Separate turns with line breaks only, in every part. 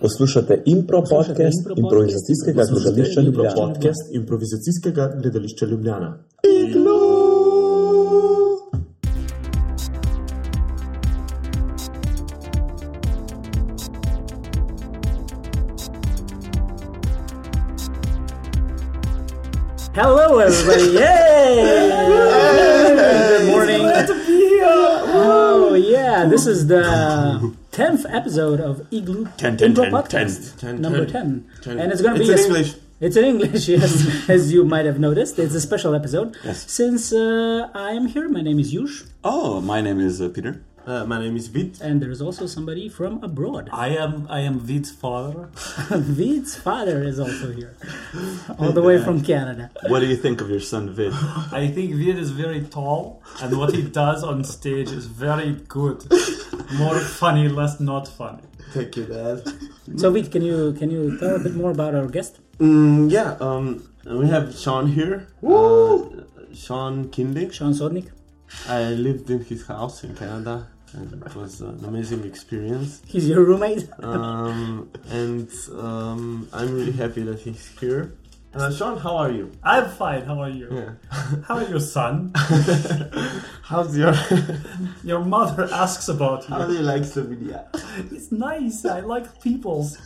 Poslušate impro
Poslušate
podcast
Impro podcast
improvizacijskega gledališča
Impro
Ljubljana.
podcast improvizacijskega gledališča Ljubljana.
Hello, everybody! Yay! Good morning. Glad to be here. Oh yeah, this is the tenth episode of Igloo
Ten, ten,
Impro
ten,
Podcast,
ten, ten,
number
ten,
ten,
ten.
and it's gonna
It's
be
in
a-
English.
It's in English, yes, as you might have noticed. It's a special episode
Yes.
since uh, I am here. My name is Yush,
Oh, my name is uh, Peter.
Uh, my name is Vit.
and there is also somebody from abroad.
I am I am Vid's father.
Vid's father is also here, all the way from Canada.
What do you think of your son Vid?
I think Vid is very tall, and what he does on stage is very good. More funny, less not funny.
Thank you, Dad.
So, Vid, can you can you tell a bit more about our guest?
Mm, yeah, um, we have Sean here. Woo! Uh, Sean Kindish.
Sean Sodnik.
I lived in his house in Canada. And it was an amazing experience,
He's your roommate.
um, and um, I'm really happy that he's here. Uh, Sean, how are you?
I'm fine. How are you?
Yeah.
How are your son?
How's your?
Your mother asks about
How
you.
do you like Slovenia?
It's nice. I like peoples.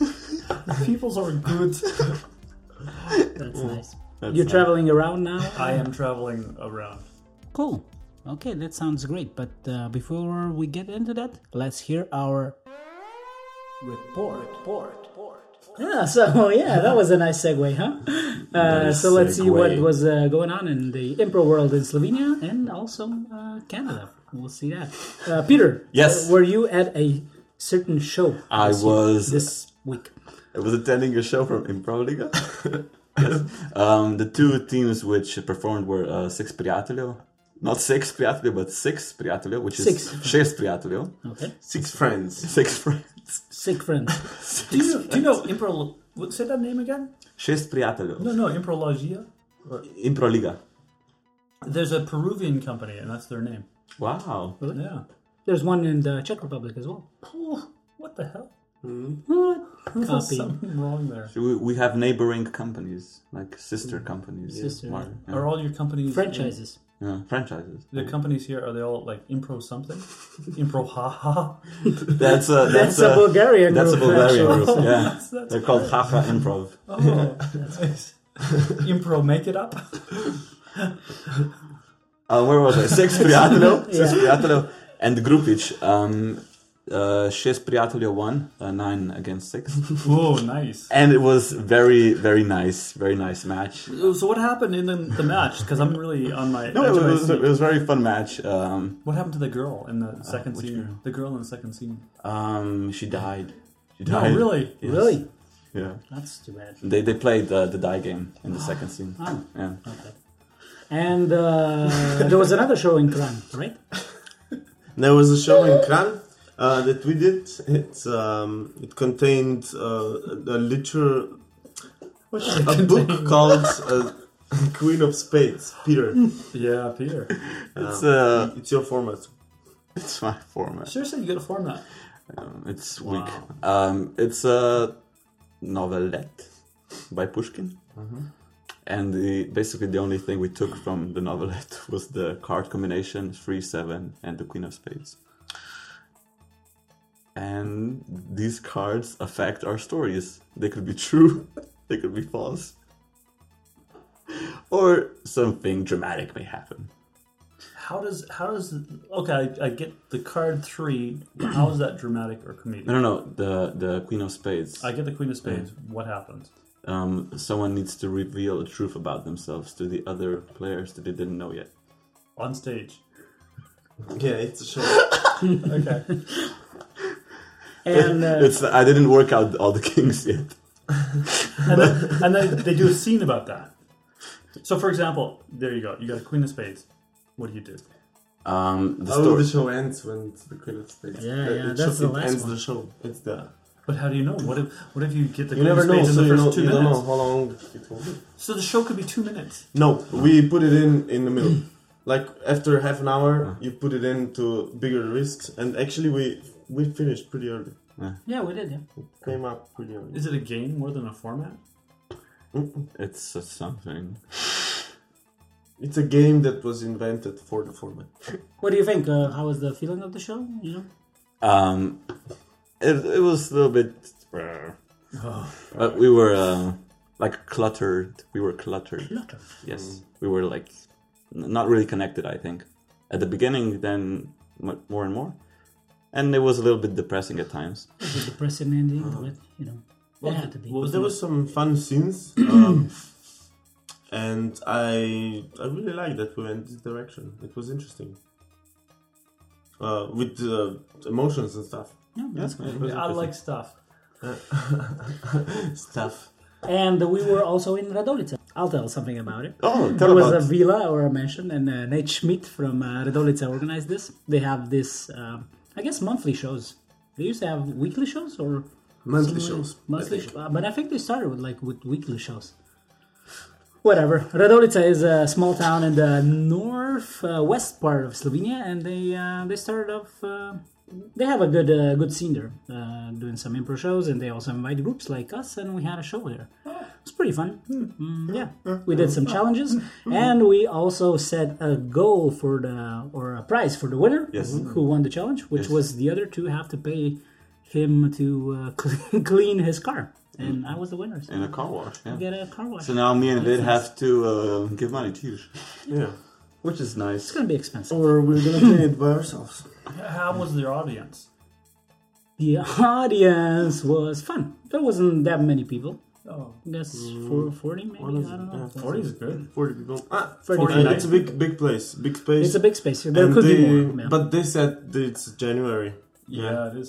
peoples are good.
That's
oh,
nice.
That's
You're
not-
traveling around now?
I am traveling around.
Cool. Okay, that sounds great. But uh, before we get into that, let's hear our report. Report. Yeah, Ah, so yeah, that was a nice segue, huh? Uh, so let's see what
segue.
was uh, going on in the impro world in Slovenia and also uh, Canada. We'll see that. Uh, Peter,
Yes.
uh, were you at a certain show
I was.
this week?
I was attending a show from Improv Liga. yes. Um, the two teams which performed were uh, Six Prijateljev. Not Six Prijateljev, but Six Prijateljev, which is
Six.
Šest Prijateljev.
Okay,
Six friends.
Six friends.
sick friends.
Do you do you know Impro? what- Say that name again.
Šest Prijateljev.
No, no, Imprologia.
Impro Liga.
There's a Peruvian company, and that's their name.
Wow.
Yeah.
There's one in the Czech Republic as well.
Oh, what the hell?
Hmm?
Hmm? There's
Copy.
something wrong there.
So we, we have neighboring companies, like sister companies.
Sister.
Mar- yeah.
Are all your companies
Franchises.
Yeah, franchises.
The companies here are they all like impro something? impro ha ha.
That's a
That's
that's, uh,
a Bulgarian
That's a
group,
Bulgarian
actually.
group. Yeah,
that's
they're called Haha Improv.
Oh, impro make it up.
Uh, where was I? Six prijateljev, six
Yeah.
prijateljev, and grupić. Um, uh, šest prijateljev won, uh, nine against six,
Oh, nice.
and it was very, very nice, very nice match.
So what happened in the, the match? Because I'm really on my.
No, it
edge of my
was, it
seat.
was a very fun match. Um,
What happened to the girl in the second
which
scene?
girl?
The girl in the second scene.
um, she died. She
No,
died.
really?
Yes.
Really?
Yeah.
That's too bad.
They they played uh, the die game in the second scene.
Oh.
Yeah.
And uh, there was another show in Kran, right?
There was a show in Kran uh, that we did. It um, it contained uh, a literature, a book called uh, Queen of Spades. Peter,
Yeah, Peter.
It's uh,
it's your format.
it's my format.
Seriously, you got to form that.
It's weak. Um, it's a novelette by Pushkin. And the, basically, the only thing we took from the novelette was the card combination 3 7 and the Queen of Spades. And these cards affect our stories. They could be true, they could be false, or something dramatic may happen.
How does how does okay? I, I get the card three. How is that dramatic or comedic?
No, no, no, the, the Queen of Spades.
I get the Queen of Spades. What happens?
um, someone needs to reveal the truth about themselves to the other players that they didn't know yet.
On stage.
Yeah, it's a show.
Okay.
And uh,
It's I didn't work out all the kings yet.
and then, and then they do a scene about that. So, for example, there you go. You got a queen of spades. What do you do?
Um,
Oh,
the
How
story.
the show ends when it's the Queen of Spades.
Yeah,
Uh,
yeah,
it
that's
just-
the
it
last
ends
one.
the show. It's the
But how do you know? What if what if you get the
you
queen of
never know.
spades
So
in
you,
the
know,
first two
you don't
minutes?
know how long it will be.
So the show could be two minutes.
No, we put it in in the middle. Uh-huh. Like after half an hour, you put it into bigger risks, and actually we we finished pretty early.
Yeah, we did. Yeah.
Came up pretty early.
Is it a game more than a format?
It's uh, something.
It's a game that was invented for the format.
What do you think? Uh, how was the feeling of the show? You know,
Um, it, it was a little bit. uh,
Oh.
but we were uh, like cluttered. We were cluttered.
Cluttered. Hmm.
Yes, we were like n- not really connected. I think at the beginning, then m- more and more, and it was a little bit depressing at times.
the depressing ending,
Oh.
but you know, it had to be.
What was
There
the
was some fun scenes, um, and I I really liked that we went this direction. It was interesting. Uh, with uh, emotions and stuff.
Yeah, that's
It
good.
was
I like stuff.
interesting. stuff.
And we were also in Radolica. I'll tell something about it.
Oh,
There
tell
was
about
a villa or a mansion, and uh, Nate Schmidt from uh, Radolica organized this. They have this, um, I guess, monthly shows. They used to have weekly shows or
Monthly
something like-
shows.
Monthly, sh- uh, but I think they started with like with weekly shows. Whatever. Radolica is a small town in the north uh, west part of Slovenia, and they uh, they started off. Uh, they have a good uh, good scene there, uh, doing some improv shows, and they also invite groups like us, and we had a show there. It was pretty fun. Mm, yeah, we did some challenges, and we also set a goal for the or a prize for the winner who won the challenge, which was the other two have to pay him to uh, clean, clean his car, and I was the winner. So
in a car wash. Yeah.
I get a car wash.
So now me and Vid have to uh, give money to you,
Yeah.
which is nice.
it's gonna be expensive.
Or we're gonna play it by ourselves.
How was their audience?
The audience was fun. There wasn't that many people.
Oh,
I guess for forty maybe. I don't know.
40 is good.
Forty people. Ah,
40.
uh, it's a big, big place. Big space.
It's a big space. There
And
could
they,
be more. yeah.
But they said that it's January.
Yeah, it is.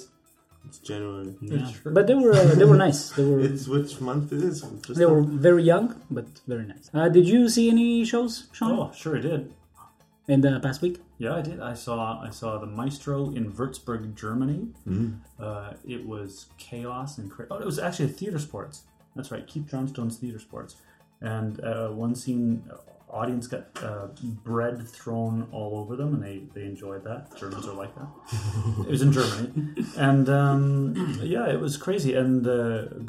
It's January.
Yeah. But they were uh, they were nice. They were
It's which month it is? Just
They were very young, but very nice. Uh, did you see any shows, Sean,
Oh, sure, I did.
in the past week?
Yeah, I did. I saw I saw the Maestro in Würzburg, Germany. Uh, it was chaos and cra- oh, it was actually theater sports. That's right, Keith Johnstone's theater sports. And uh, one scene, uh, audience got uh, bread thrown all over them, and they they enjoyed that. Germans are like that. it was in Germany, and um, yeah, it was crazy. And the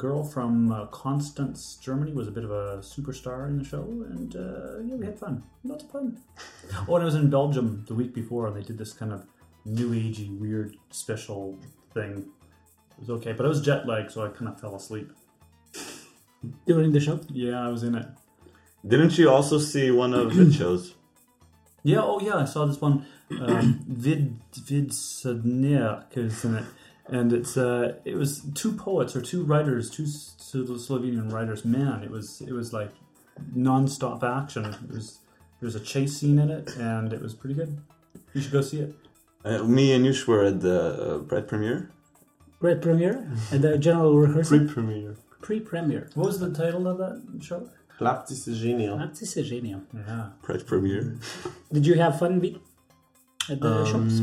girl from uh, Constance, Germany, was a bit of a superstar in the show, and uh, yeah, we had fun. Lots of fun. Oh, and I was in Belgium the week before, and they did this kind of new agey, weird, special thing. It was okay, but I was jet lagged, so I kind of fell asleep.
During the show?
Yeah, I was in it.
Didn't you also see one of the shows?
Yeah, oh yeah, I saw this one. Um, Vid Vid Sodniak is in it, and it's uh, it was two poets or two writers, two S- Slovenian writers. Man, it was it was like non-stop action. It was there was a chase scene in it, and it was pretty good. You should go see it.
Uh, me and Yush were at the uh, bread premiere.
Red premiere and the general rehearsal?
pre-premiere.
Pre-premiere.
What was the title of that show?
Laptis is genial.
That's a genius.
Yeah.
Bread premiere.
Did you have fun Vit, at the shops?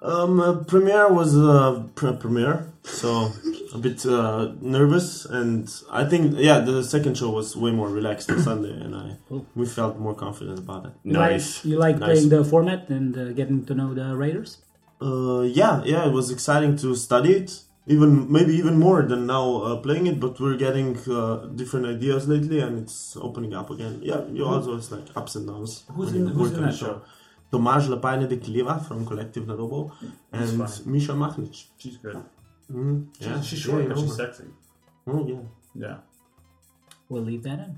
Um, uh, premiere was uh, pre- premiere, so a bit uh, nervous, and I think yeah, the second show was way more relaxed on Sunday, and I we felt more confident about it.
You like- You like
Nice.
playing the format and uh, getting to know the writers?
Uh, yeah, yeah, it was exciting to study it, even maybe even more than now uh, playing it, but we're getting uh, different ideas lately, and it's opening up again. Yeah, you also it's like ups and downs.
Who's
when
in-
you
who's
work
in
on a
that show?
Tomasz Lapajne de Kleva from Collective Narobo and
funny.
Misha Machnic.
She's good.
Yeah,
she's
sure,
short,
you
but
know
she's
her.
sexy.
Oh yeah.
Yeah.
We'll leave that in.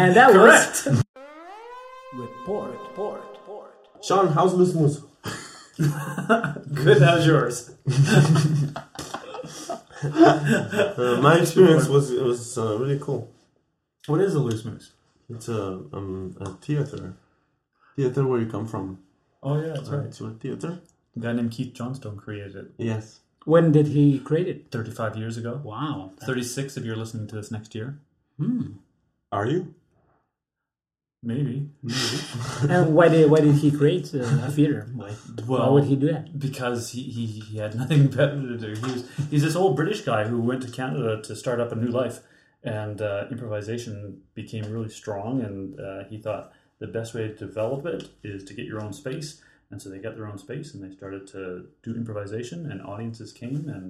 and that was... Report, report, report.
Sean, how's loose moose?
Good, how's yours?
Uh, my experience was it was uh, really cool.
What is a loose moose?
It's a um a theater, theater where you come from.
Oh, yeah, that's right.
It's your theater.
A guy named Keith Johnstone created it
Yes.
When did he create it?
35 years ago.
Wow.
36 if you're listening to this next year.
Are you?
Maybe.
and why did, why did he create uh, a theater? Why, why
Well-
would he do that?
Because he, he, he had nothing better to do. He was, he's this old British guy who went to Canada to start up a new life, and uh, improvisation became really strong. And uh, he thought the best way to develop it is to get your own space And so they got their own space and they started to do improvisation, and audiences came and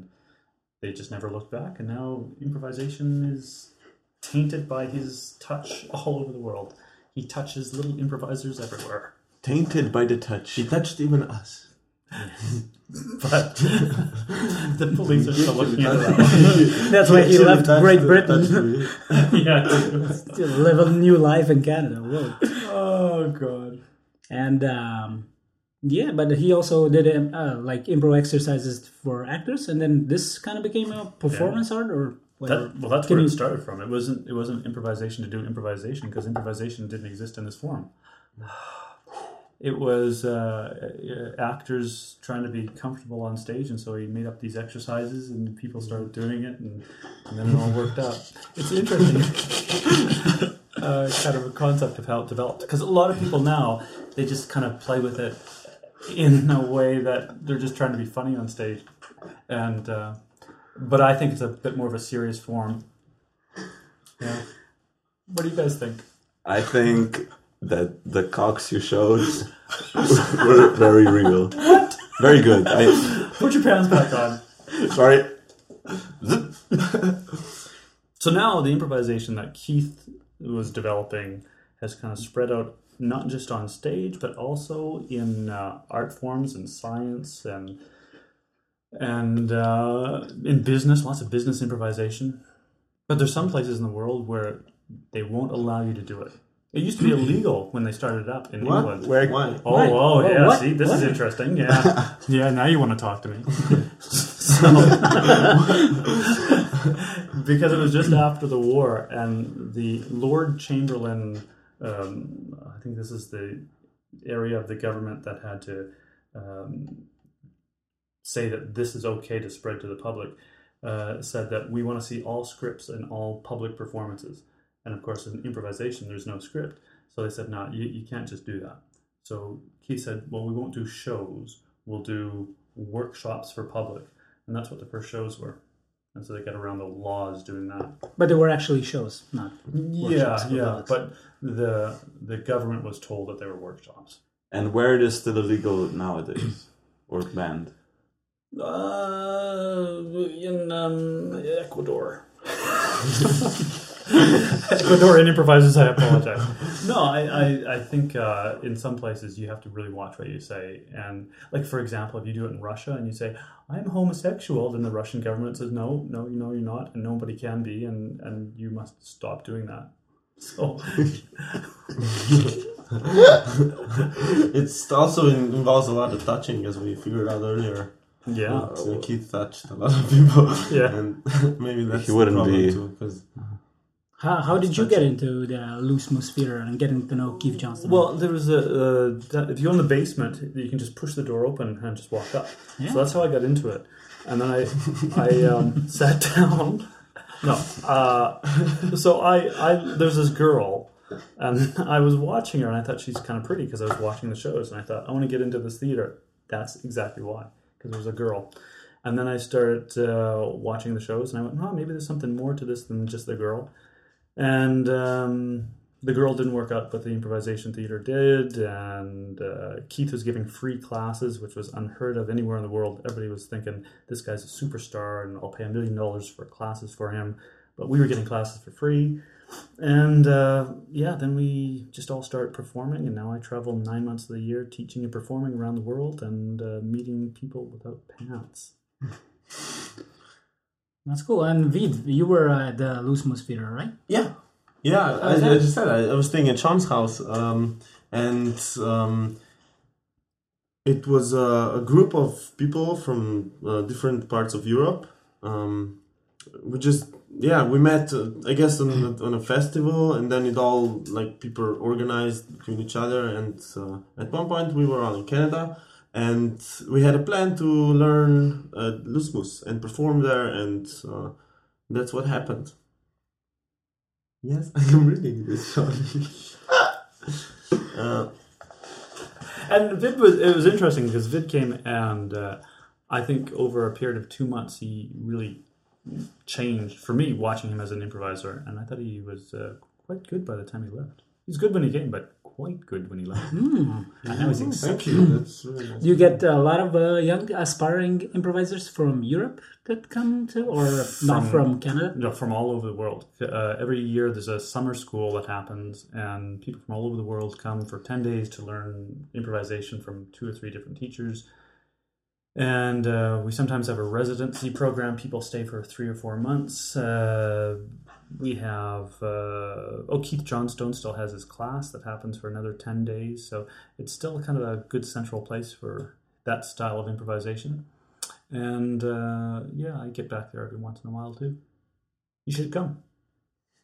they just never looked back. And now improvisation is tainted by his touch all over the world. He touches little improvisers everywhere.
Tainted by the touch.
She touched even us.
But the police are still looking at that.
That's why he
She
left
touched
Great
the-
Britain
touched me.
yeah.
to live a new life in Canada. Whoa.
Oh god.
And um, yeah, but he also did um, uh, like improv exercises for actors, and then this kind of became a performance art or whatever.
That, well, that's
Can
where
you-
it started from. It wasn't. It wasn't improvisation to do improvisation because improvisation didn't exist in this form. It was uh, uh, actors trying to be comfortable on stage, and so he made up these exercises, and people started doing it, and, and then it all worked out. It's interesting, uh, kind of a concept of how it developed. Because a lot of people now they just kind of play with it in a way that they're just trying to be funny on stage, and uh, but I think it's a bit more of a serious form. Yeah. What do you guys think?
I think that the cocks you showed were very real. What? Very good. I,
Put your pants back on.
sorry.
So now the improvisation that Keith was developing has kind of spread out not just on stage but also in uh, art forms and science and and uh, in business, lots of business improvisation. But there's some places in the world where they won't allow you to do it. It used to be illegal when they started up in
What?
England.
Why?
Oh,
Right.
oh,
Well,
yeah.
what-
See, this is
what-
interesting. Yeah, yeah. Now you want to talk to me? so, because it was just after the war, and the Lord Chamberlain, um, I think this is the area of the government that had to um, say that this is okay to spread to the public. Uh, said that we want to see all scripts and all public performances, and of course, in improvisation, there's no script. So they said, no, you, you can't just do that. So Keith said, well, we won't do shows. We'll do workshops for public. And that's what the first shows were. And so they got around the laws doing that.
But there were actually shows, not
Yeah,
for
yeah.
public.
But the the government was told that they were workshops.
And where it is still illegal nowadays or banned?
Uh, in um, Ecuador. Ecuadorian improvisers, I apologize. No, I, I, I think uh, in some places you have to really watch what you say. And, like, for example, if you do it in Russia and you say, I'm homosexual, then the Russian government says, no, no, no, you're not, and nobody can be, and, and you must stop doing that. So,
It's also in, involves a lot of touching, as we figured out earlier.
yeah.
So Keith touched a lot of people.
Yeah.
and maybe that's
He
the
wouldn't
problem
be-
too. Because
How, how did you get into the loose moose theater and getting to know Keith Johnston?
Well, there was a. Uh, that- if you're in the basement, you can just push the door open and just walk up.
Yeah.
So that's how I got into it. And then I, I um, sat down. No, uh, so I, I there's this girl, and I was watching her, and I thought she's kind of pretty because I was watching the shows, and I thought I want to get into this theater. That's exactly why, because there was a girl. And then I started uh, watching the shows, and I went, oh, maybe there's something more to this than just the girl and um, the girl didn't work out, but the improvisation theater did. And uh, Keith was giving free classes, which was unheard of anywhere in the world. Everybody was thinking this guy's a superstar, and I'll pay a million dollars for classes for him. But we were getting classes for free, and uh, yeah, then we just all started performing. And now I travel nine months of the year teaching and performing around the world and uh, meeting people without pants.
That's cool. And Vid, you were at the loose moose theater, right?
Yeah, yeah. I, I just said I, I was staying at Sean's house, um, and um, it was a, a group of people from uh, different parts of Europe. Um, we just yeah we met uh, I guess on a, on a festival, and then it all like people organized between each other, and uh, at one point we were all in Canada. And we had a plan to learn uh, Lusmus and perform there, and uh, that's what happened. Yes, I am reading this, Charlie. uh,
And Vid was it was interesting because Vid came and uh, I think over a period of two months he really changed for me watching him as an improviser and I thought he was uh, quite good by the time he left. He's good when he came, but quite good when he left. And now he's exceptional.
Oh, Thank you. That's really nice.
Do you get a lot of uh, young aspiring improvisers from Europe that come to, or not from Canada?
No, from all over the world. Uh, every year there's a summer school that happens, and people from all over the world come for 10 days to learn improvisation from two or three different teachers. And uh, we sometimes have a residency program. People stay for three or four months. Uh, we have, uh, oh, Keith Johnstone still has his class that happens for another 10 days. So it's still kind of a good central place for that style of improvisation. And uh, yeah, I get back there every once in a while too. You should come.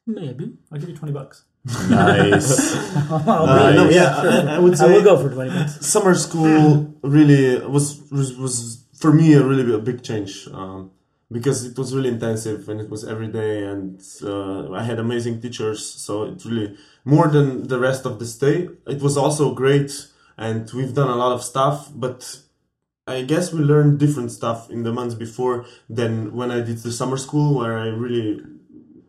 Maybe.
I'll give you 20 bucks.
Nice.
Uh, no, yeah, I, I would
I
say
will go for 20 minutes.
summer school really was was, was for me a really a big change um, because it was really intensive and it was every day and uh, I had amazing teachers so it really more than the rest of the stay it was also great and we've done a lot of stuff but I guess we learned different stuff in the months before than when I did the summer school where I really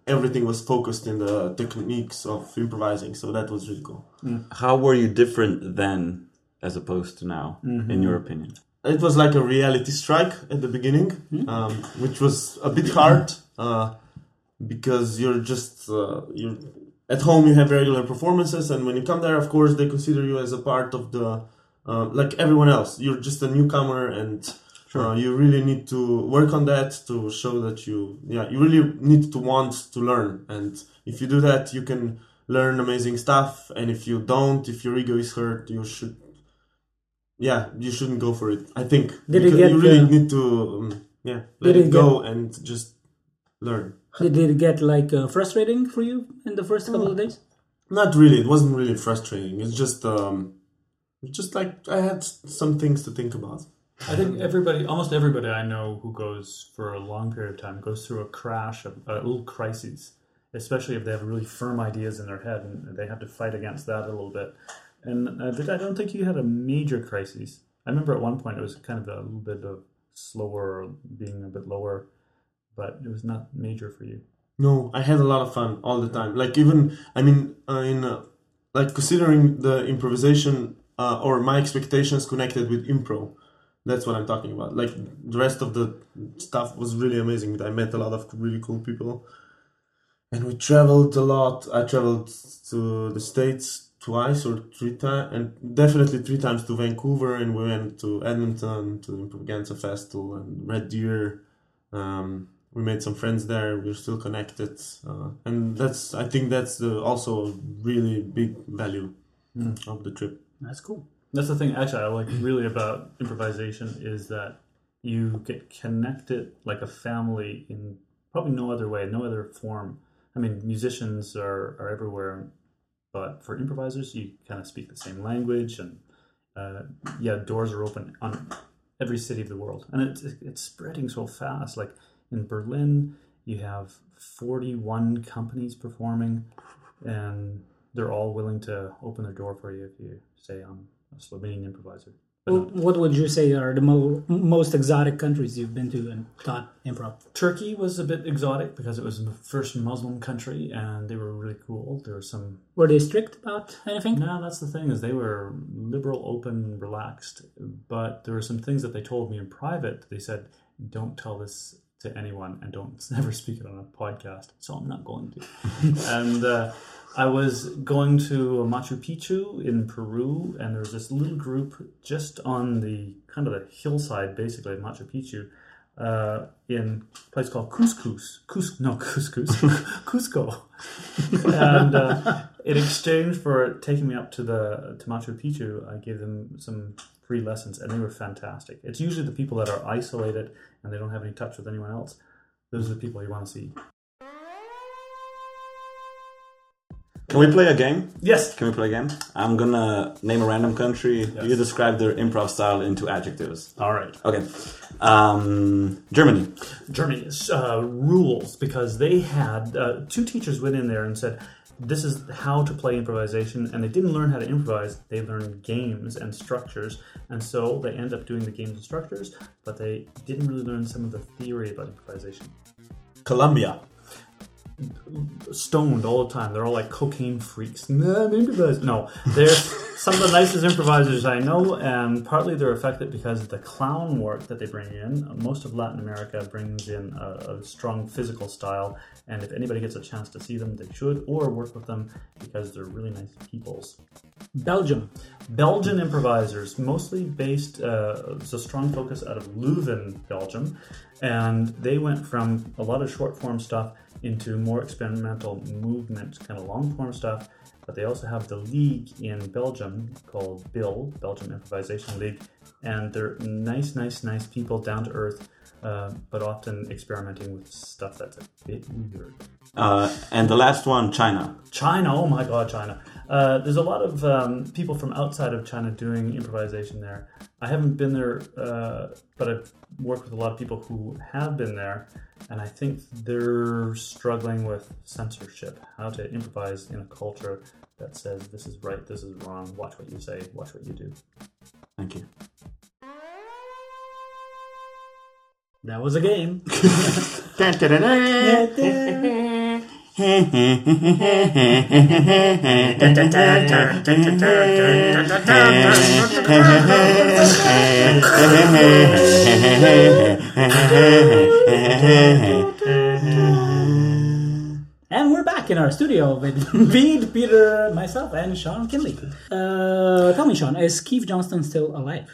everything was focused in the techniques of improvising so that was really cool.
How were you different then as opposed to now, in your opinion?
it was like a reality strike at the beginning, um, which was a bit hard uh, because you're just uh, you're at home. You have regular performances, and when you come there, of course, they consider you as a part of the uh, like everyone else. You're just a newcomer, and uh, you really need to work on that to show that you yeah you really need to want to learn. And if you do that, you can learn amazing stuff. And if you don't, if your ego is hurt, you should yeah, you shouldn't go for it. I think
Did it
Because
get,
you really
uh,
need to um, yeah let
did it
it go and just learn.
Did it get like uh, frustrating for you in the first couple of
Oh.
days?
Not really. It wasn't really frustrating. It's just um, it's just like I had s- some things to think about.
I think everybody, almost everybody I know who goes for a long period of time goes through a crash, a, a little crisis, especially if they have really firm ideas in their head and they have to fight against that a little bit. And I, think- I don't think you had a major crisis. I remember at one point it was kind of a little bit of slower, being a bit lower, but it was not major for you.
No, I had a lot of fun all the time. Like even I mean, uh, in uh, like considering the improvisation uh, or my expectations connected with impro. That's what I'm talking about. Like the rest of the stuff was really amazing. I met a lot of really cool people, and we traveled a lot. I traveled to the states twice or three times, and definitely three times to Vancouver. And we went to Edmonton to the Improganza Festival and Red Deer. Um, we made some friends there. We're still connected, uh, and that's I think that's the, also a really big value of the trip.
That's cool.
That's the thing, actually, I like really about improvisation is that you get connected like a family in probably no other way, no other form. I mean, musicians are, are everywhere, but for improvisers, you kind of speak the same language, and uh, yeah, doors are open on every city of the world, and it's it's spreading so fast. Like in Berlin, you have forty one companies performing, and they're all willing to open their door for you if you say I'm a Slovenian improviser. But
Well, what would you say are the mo- most exotic countries you've been to and taught improv?
Turkey was a bit exotic because it was the first Muslim country, and they were really cool. There were some
Were they strict about anything?
No, that's the thing is they were liberal, open, relaxed, but there were some things that they told me in private. They said, "Don't tell this to anyone, and don't never speak it on a podcast." So I'm not going to. and uh, I was going to Machu Picchu in Peru, and there was this little group just on the kind of the hillside, basically of Machu Picchu. Uh, in a place called Couscous, Cus no Couscous, Cusco, and uh, in exchange for taking me up to the to Machu Picchu, I gave them some free lessons, and they were fantastic. It's usually the people that are isolated and they don't have any touch with anyone else. Those are the people you want to see.
Can we play a game?
Yes.
Can we play a game? I'm gonna name a random country. You describe their improv style into adjectives.
All right.
Okay. Um, Germany.
Germany uh, rules because they had uh, two teachers went in there and said, "This is how to play improvisation," and they didn't learn how to improvise. They learned games and structures, and so they end up doing the games and structures, but they didn't really learn some of the theory about improvisation.
Colombia.
stoned all the time. They're all like cocaine freaks. Nah, I'm improvised. No, they're some of the nicest improvisers I know, and partly they're affected because of the clown work that they bring in. Most of Latin America brings in a, a strong physical style, and if anybody gets a chance to see them, they should or work with them because they're really nice peoples. Belgium. Belgian improvisers, mostly based, uh, it's a strong focus out of Leuven, Belgium. And they went from a lot of short form stuff into more experimental movement, kind of long form stuff. But they also have the league in Belgium called BIL, Belgium Improvisation League. And they're nice, nice, nice people, down to earth, uh, but often experimenting with stuff that's a bit weird.
Uh, and the last one, China.
China, oh my God, China. Uh, there's a lot of um, people from outside of China doing improvisation there. I haven't been there, uh, but I've worked with a lot of people who have been there, and I think they're struggling with censorship, how to improvise in a culture that says this is right, this is wrong, watch what you say, watch what you do.
Thank you.
That was a game. And we're back in our studio with Bede, Peter, myself, and Sean Kinley. Uh, tell me, Sean, is Keith Johnston still alive?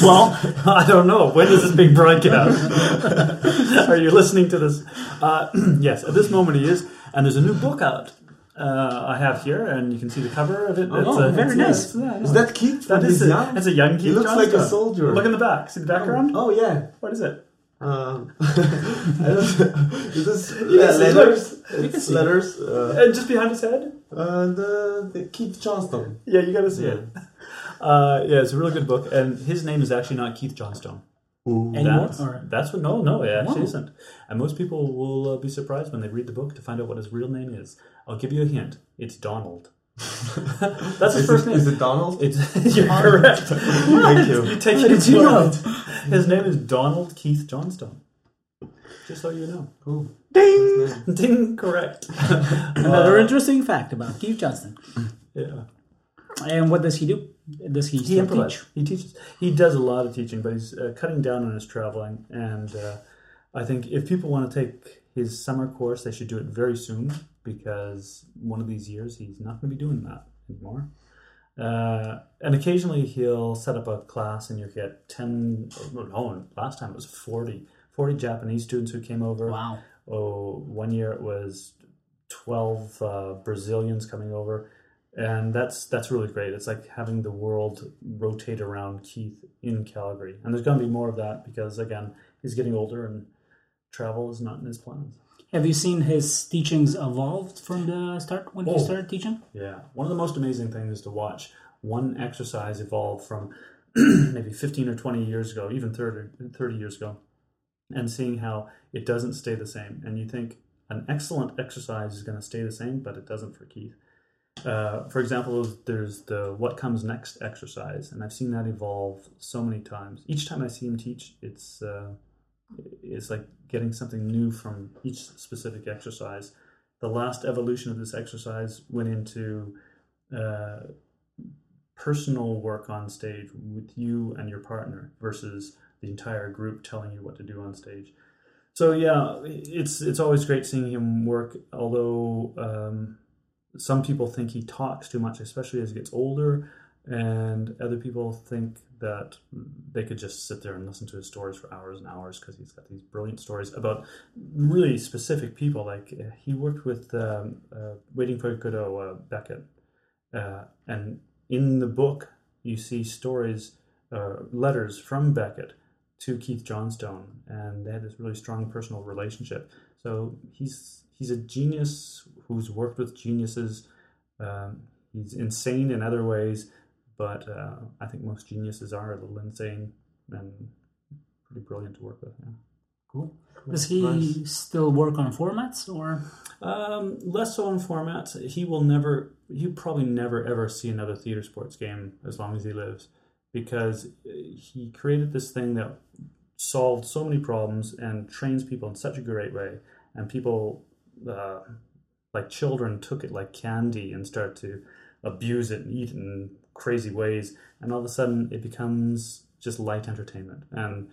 well, I don't know. When is this being broadcast? Are you listening to this? Uh, yes, at this moment he is. And there's a new book out uh, I have here, and you can see the cover of it. Oh, it's a,
very
it's-
nice.
yeah,
Is that Keith?
that
from
is
His
a,
Young?
that's a young kid.
He looks like a soldier.
Look in the back. See the background?
Oh yeah.
What is it?
Um, I don't- is this
can see
letters?
can
It's
see
letters. Uh,
Uh, just behind his head?
uh, the, the Keith Johnston.
Yeah, you gotta see it. Uh, yeah, it's a really good book, and his name is actually not Keith Johnstone.
Anymore?
That's,
Or
that's what. No, no, it actually
No.
isn't. And most people will uh, be surprised when they read the book to find out what his real name is. I'll give you a hint. It's Donald. that's his first name.
Is it Donald?
It's, you're correct.
Thank you.
You take it
did you
for
know?
it. His name is Donald Keith Johnstone. Just so you know.
Cool.
Ding, correct.
Another interesting fact about Keith Johnston.
Yeah.
And what does he do? Does he,
He
still teach?
improvises. He teaches. He does a lot of teaching, but he's uh, cutting down on his traveling. And uh, I think if people want to take his summer course, they should do it very soon because one of these years he's not going to be doing that anymore. Uh, and occasionally he'll set up a class and you'll get 10, oh, no, last time it was 40, 40 Japanese students who came over.
Wow.
Oh, one year it was 12 uh, Brazilians coming over. And that's that's really great. It's like having the world rotate around Keith in Calgary. And there's going to be more of that because, again, he's getting older and travel is not in his plans.
Have you seen his teachings evolved from the start when
Oh.
he started teaching?
Yeah, one of the most amazing things is to watch one exercise evolve from maybe 15 or 20 years ago, even 30, 30 years ago, and seeing how it doesn't stay the same. And you think an excellent exercise is going to stay the same, but it doesn't for Keith. Uh, for example, there's the what comes next exercise, and I've seen that evolve so many times. Each time I see him teach, it's uh, it's like getting something new from each specific exercise. The last evolution of this exercise went into uh, personal work on stage with you and your partner versus the entire group telling you what to do on stage. So yeah, it's it's always great seeing him work. Although um, some people think he talks too much, especially as he gets older, and other people think that they could just sit there and listen to his stories for hours and hours because he's got these brilliant stories about really specific people. Like uh, he worked with um, uh, Waiting for Godot, uh, Beckett, uh, and in the book you see stories, uh, letters from Beckett to Keith Johnstone, and they had this really strong personal relationship. So he's he's a genius who's worked with geniuses. Um, he's insane in other ways, but uh, I think most geniuses are a little insane and pretty brilliant to work with. Yeah.
Cool. Does he still work on formats or
Um, less so in formats. He will never, you probably never ever see another theater sports game as long as he lives because uh, he created this thing that solved so many problems and trains people in such a great way. and people uh, like children took it like candy and start to abuse it and eat it in crazy ways and all of a sudden it becomes just light entertainment and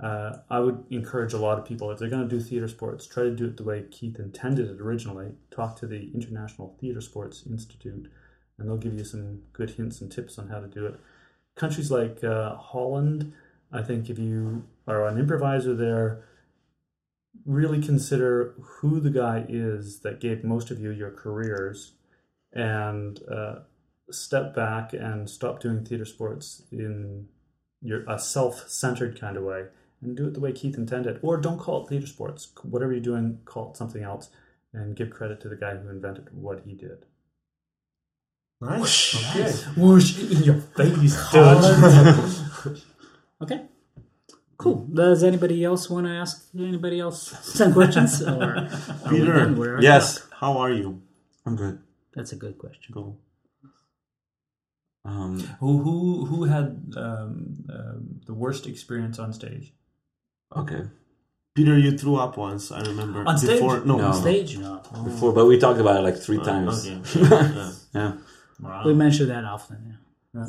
uh, i would encourage a lot of people if they're going to do theater sports try to do it the way keith intended it originally talk to the international theater sports institute and they'll give you some good hints and tips on how to do it countries like uh, holland i think if you are an improviser there really consider who the guy is that gave most of you your careers and uh, step back and stop doing theater sports in your a self-centered kind of way and do it the way keith intended or don't call it theater sports whatever you're doing call it something else and give credit to the guy who invented what he did
Nice. Okay.
whoosh in your face
Okay. Cool. Does anybody else want to ask anybody else some questions? Or are we
Peter,
done? We're-
Yes,
How are you?
I'm good.
That's a good question.
Um,
Who who who had um, um, the worst experience on stage?
okay.
Peter, you threw up once, I remember.
On stage?
Before, no. Uh,
No.
Stage? No.
Before, but we talked about it like three times.
Okay. Yeah.
Yeah.
We mention that often. Yeah.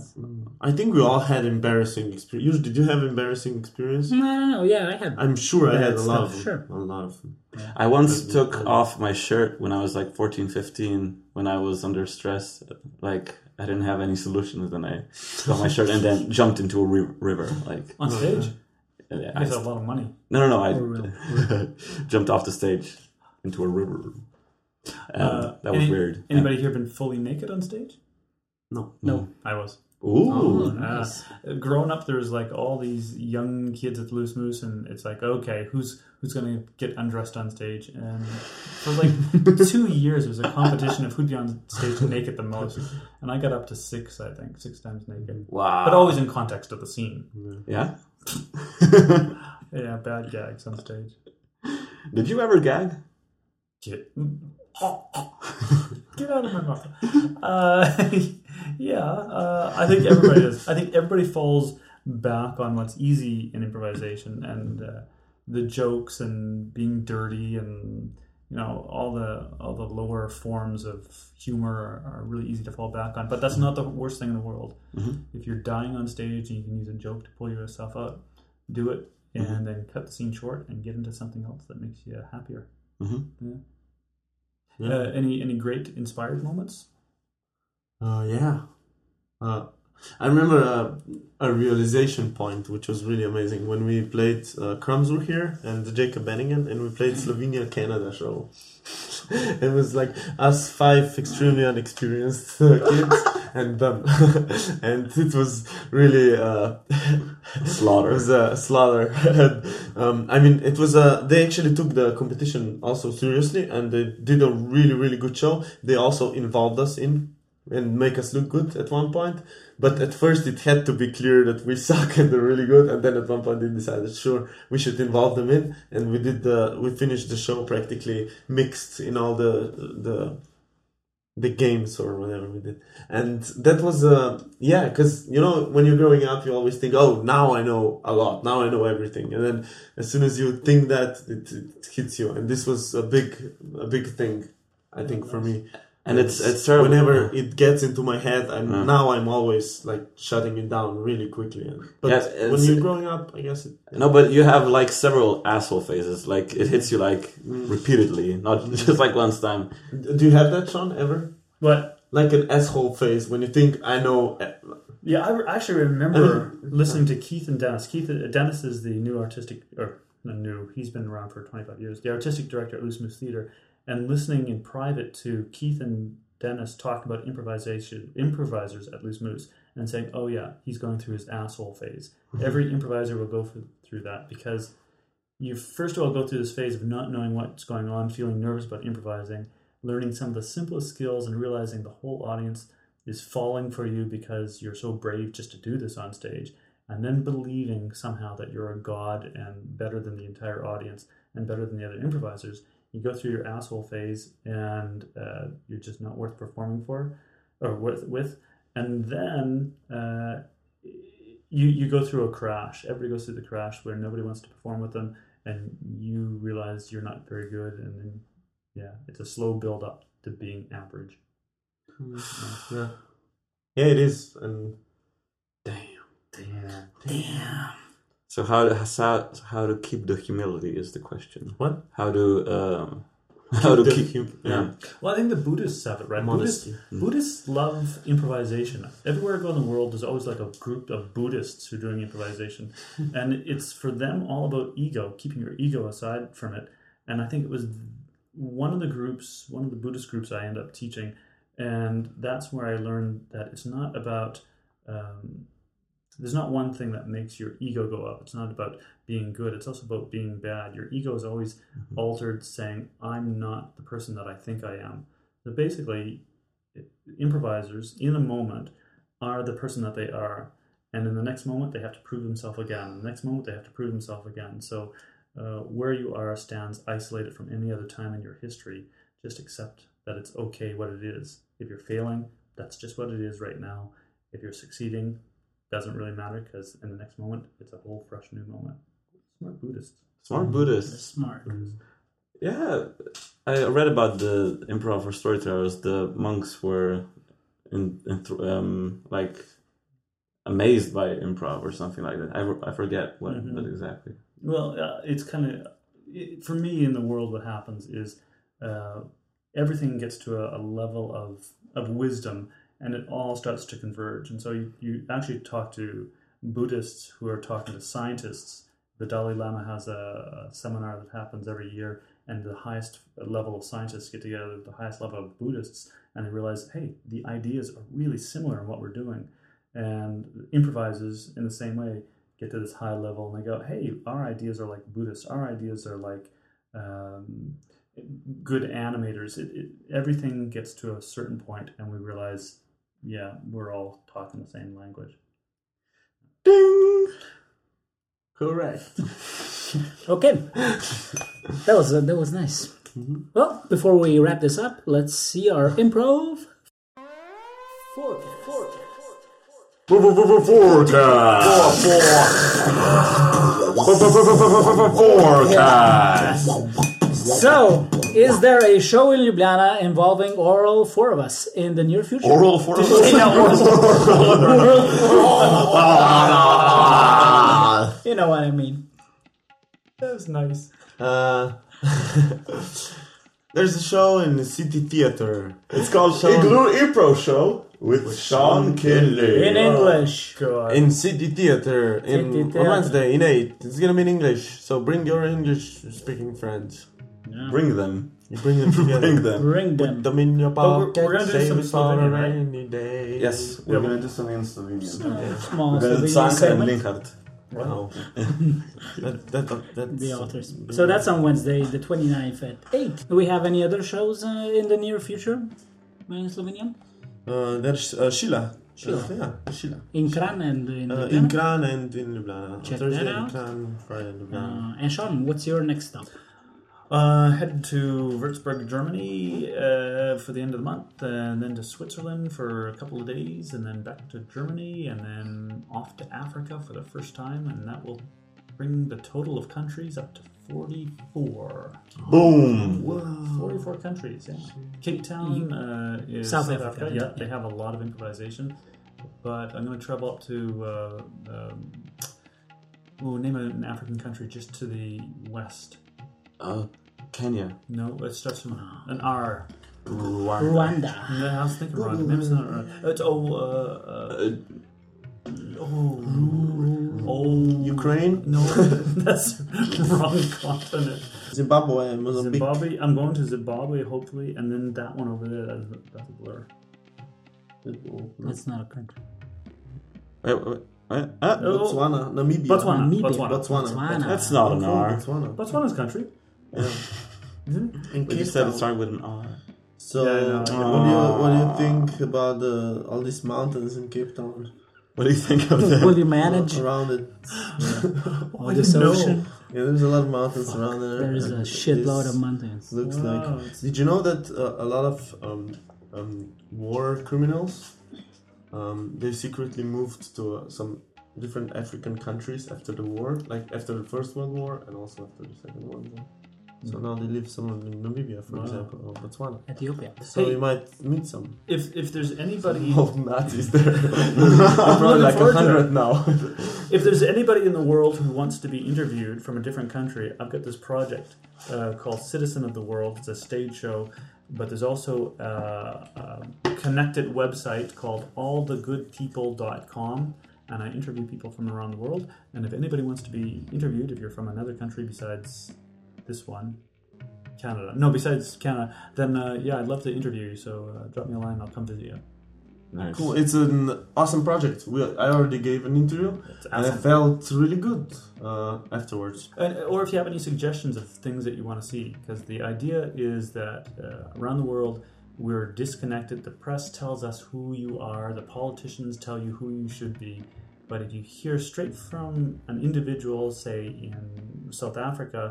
I think we all had embarrassing experience. Did you have embarrassing experience?
No, no, no. Yeah, I had.
I'm sure I had
Hmm.
a
That's
lot
not
of them.
sure.
A lot of them.
I once took off my shirt when I was like 14, 15, when I was under stress. Like, I didn't have any solutions, and I took off my shirt and then jumped into a ri- river. Like,
On
Uh,
stage?
yeah,
I
I-
had a lot of money.
no, no, no. I jumped off the stage into a river. And
Uh,
that was
any-
weird. Yeah.
Anybody here been fully naked on stage?
No.
No.
I was.
Ooh.
Oh, Nice.
Uh, growing up, there's like all these young kids at the Loose Moose, and it's like, okay, who's who's gonna get undressed on stage? And for like two years, it was a competition of who'd be on stage naked the most. And I got up to six, I think, six times naked,
Wow.
but always in context of the scene.
yeah.
Yeah, bad gags on stage.
Did you ever gag?
Get, get out of my mouth. Uh, yeah, uh, I think everybody does. I think everybody falls back on what's easy in improvisation and uh, the jokes and being dirty and you know all the all the lower forms of humor are, are really easy to fall back on. But that's not the worst thing in the world. If you're dying on stage and you can use a joke to pull yourself out, do it. And then cut the scene short and get into something else that makes you happier. Uh, any any great inspired moments?
Uh, yeah. Uh, I remember uh, a realization point, which was really amazing, when we played uh, Crumbs were here and Jacob Benningen, and we played Slovenia Canada show. it was like us five extremely unexperienced uh, kids and them, and it was really uh, It
Slaughter.
was a slaughter. um, I mean, it was a. They actually took the competition also seriously, and they did a really, really good show. They also involved us in and make us look good at one point. But at first, it had to be clear that we suck and they're really good. And then at one point, they decided, sure, we should involve them in, and we did the. We finished the show practically mixed in all the the the games or whatever we did and that was uh yeah because you know when you're growing up you always think oh now i know a lot now i know everything and then as soon as you think that it, it hits you and this was a big a big thing i think for me
And it's- it's terrible.
whenever it gets into my head i'm now i'm always like shutting it down really quickly and, but
Yeah, it's-
when you're growing up i guess it,
No, but you have like several asshole phases. Like it hits you like repeatedly, not just like once time.
do you have that sean ever
But
like an asshole face when you think i know
yeah, I re- actually remember listening to Keith and Dennis. Keith uh, Dennis is the new artistic or not new. He's been around for 25 years. The artistic director at Loose Moose Theater, and listening in private to Keith and Dennis talk about improvisation, improvisers at Loose Moose, and saying, "Oh yeah, he's going through his asshole phase. Every improviser will go through- through that because." you first of all go through this phase of not knowing what's going on, feeling nervous about improvising, learning some of the simplest skills, and realizing the whole audience is falling for you because you're so brave just to do this on stage, and then believing somehow that you're a god and better than the entire audience and better than the other improvisers. You go through your asshole phase, and uh, you're just not worth performing for, or worth with, and then. Uh, you, you go through a crash. Everybody goes through the crash where nobody wants to perform with them and you realize you're not very good, and then yeah, it's a slow build up to being average.
Yeah. Yeah, it is. And
Damn.
So how to how, how to keep the humility is the question.
What?
How to um, how to
the
keep
hum-
yeah.
Well, I think the Buddhists have it right.
Modesty.
Buddhists, Buddhists Mm-hmm. love improvisation. Everywhere I go in the world, there's always like a group of Buddhists who are doing improvisation, and it's for them all about ego, keeping your ego aside from it. And I think it was one of the groups, one of the Buddhist groups I end up teaching, and that's where I learned that it's not about. Um, there's not one thing that makes your ego go up. It's not about being good. It's also about being bad. Your ego is always altered, saying, "I'm not the person that I think I am." So basically, improvisers in a moment are the person that they are, and in the next moment they have to prove themselves again. In the next moment they have to prove themselves again. So uh, where you are stands isolated from any other time in your history. Just accept that it's okay what it is. If you're failing, that's just what it is right now. If you're succeeding, doesn't really matter because in the next moment it's a whole fresh new moment. Smart Buddhists.
Smart Buddhists.
Smart.
Yeah, I read about the improv for storytellers. The monks were in, in th- um, like amazed by improv or something like that. I, re- I forget what
Mhm.
but exactly.
Well, uh, it's kind of for me in the world. What happens is uh, everything gets to a, a level of of wisdom, and it all starts to converge. And so you, you actually talk to Buddhists who are talking to scientists. The Dalai Lama has a, a seminar that happens every year, and the highest level of scientists get together with the highest level of Buddhists, and they realize, hey, the ideas are really similar in what we're doing. And improvisers in the same way get to this high level and they go, hey, our ideas are like Buddhists, our ideas are like um, good animators. It, it, everything gets to a certain point and we realize, yeah, we're all talking the same language.
Ding.
Correct.
Okay. that was uh, that was nice.
Mm-hmm.
Well, before we wrap this up, let's see our improv. Forecast.
Forecast. Forecast.
So, is there a show in Ljubljana involving oral four of us in the near future?
Oral for us.
You know what I mean.
That was nice.
Uh, there's a show in the City Theater.
It's called
Igloo Impro Show with, Sean Kinley.
In English.
In City Theater in
City
on
Theater.
Wednesday in eight. It's gonna be in English, so bring your English speaking friends.
Bring them.
You bring them together.
Bring them.
Bring them.
Them in your
we're-
pocket.
we're gonna do
save
some
it for a
Slovenian, right?
rainy day.
Yes, we're gonna do something in Slovenian.
Small
We're gonna do
Slovenian
Zanka and
segment.
Linhardt.
Wow. that, that, that, that's
The authors. So that's on Wednesday, the 29th at 8. Do we have any other shows uh, in the near future in Slovenia?
Uh, there's uh, Sheila. Sheila. yeah, Sheila.
In Kran and in
Uh, in
Ljubljana?
Kran and in Ljubljana.
Check
Thursday
that
in
out.
Kran, Friday in Ljubljana.
Uh, and Sean, what's your next stop?
Uh, headed to Würzburg, Germany uh, for the end of the month, and then to Switzerland for a couple of days, and then back to Germany, and then off to Africa for the first time, and that will bring the total of countries up to 44.
Boom.
44 countries, yeah. Cape Town uh, is
South Africa,
Yeah,
yeah.
they have a lot of improvisation, but I'm going to travel up to. Uh, um, We'll name an African country just to the west.
Uh, Kenya.
No, it starts from an R.
Rwanda.
Yeah, I was thinking wrong. Maybe it's not right. It's oh, uh,
Uh,
uh, oh, oh,
Ukraine,
No, that's wrong continent.
Zimbabwe, Mozambique.
Zimbabwe. I'm going to Zimbabwe hopefully, and then that one over there. That's, that's a blur.
That's not a country.
wait, wait, wait, ah,
Botswana, Namibia.
Botswana.
Namibia.
Botswana.
Botswana.
Botswana.
that's not an R.
Botswana.
Botswana's country.
In
We
Cape
just said it
Town.
started with an R.
So,
Yeah, I know.
what do you what do you think about the, all these mountains in Cape Town?
What do you think of that?
Will you manage?
Around it,
Oh, this ocean.
yeah, there's a lot of mountains around there.
There is a
and
shitload
this
of mountains.
Looks
Wow,
like.
it's-
Did you know that uh, a lot of um, um, war criminals um, they secretly moved to uh, some different African countries after the war, like after the First World War and also after the Second World War. So now they live some of them in Namibia, for
Hmm. Wow.
example, or Botswana.
Ethiopia.
So
Hey.
we might meet some.
If if there's anybody
Oh, Nazis there. probably like a
forward to
hundred now.
if there's anybody in the world who wants to be interviewed from a different country, I've got this project uh, called Citizen of the World. It's a stage show, but there's also uh, a connected website called allthegoodpeople.com. And I interview people from around the world. And if anybody wants to be interviewed, if you're from another country besides this one, Canada, no, besides Canada, then uh, yeah, I'd love to interview you. So uh, drop me a line, I'll come visit you.
Nice.
Cool. It's an awesome project. We, I already gave an interview
It's
and I
awesome.
felt really good uh, afterwards.
And, or if you have any suggestions of things that you want to see, because the idea is that uh, around the world we're disconnected. The press tells us who you are, the politicians tell you who you should be. But if you hear straight from an individual, say in South Africa,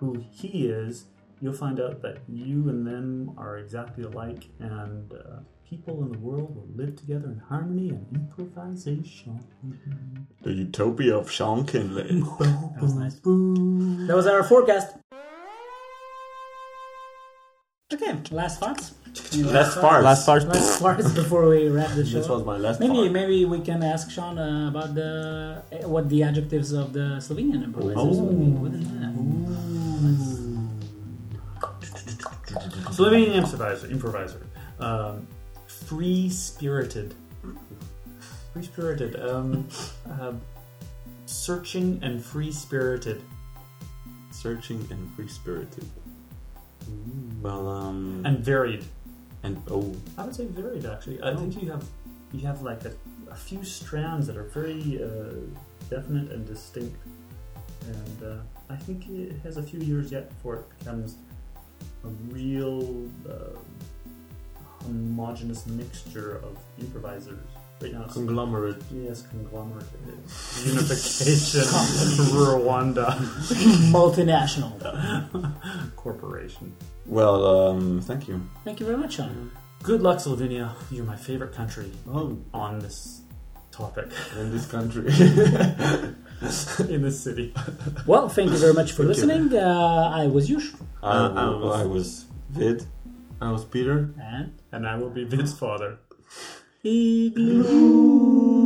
who he is, you'll find out that you and them are exactly alike, and uh, people in the world will live together in harmony and improvisation.
The utopia of Sean Kinley.
That was nice. That was our forecast. Okay, last thoughts. Any
Last part. Last part.
Last thoughts before we wrap the
This was
show.
my last
Maybe
part.
maybe we can ask Sean uh, about the eh, what the adjectives of the Slovenian improvisers
Oh.
would be. Wouldn't that?
Slovenian improviser, improviser, um, free spirited, free spirited, um, uh, searching and free spirited.
Searching and free spirited. Well, um.
and varied.
and oh.
I would say varied actually. I think you have you have like a, a few strands that are very uh, definite and distinct, and uh, I think it has a few years yet before it becomes a real uh, homogenous mixture of improvisers. Right now, it's
Conglomerate.
yes, conglomerate unification, Rwanda
Multinational.
corporation.
Well, um, thank you.
Thank you very much, Sean.
Good luck, Slovenia. You're my favorite country
Oh,
on this topic
in this country.
in this city.
Well, thank you very much for listening. Uh, I was Yush.
I,
Uh, I
w-
was-
I was Vid.
I was Peter.
And
and I will be Vince's father.
Igloo.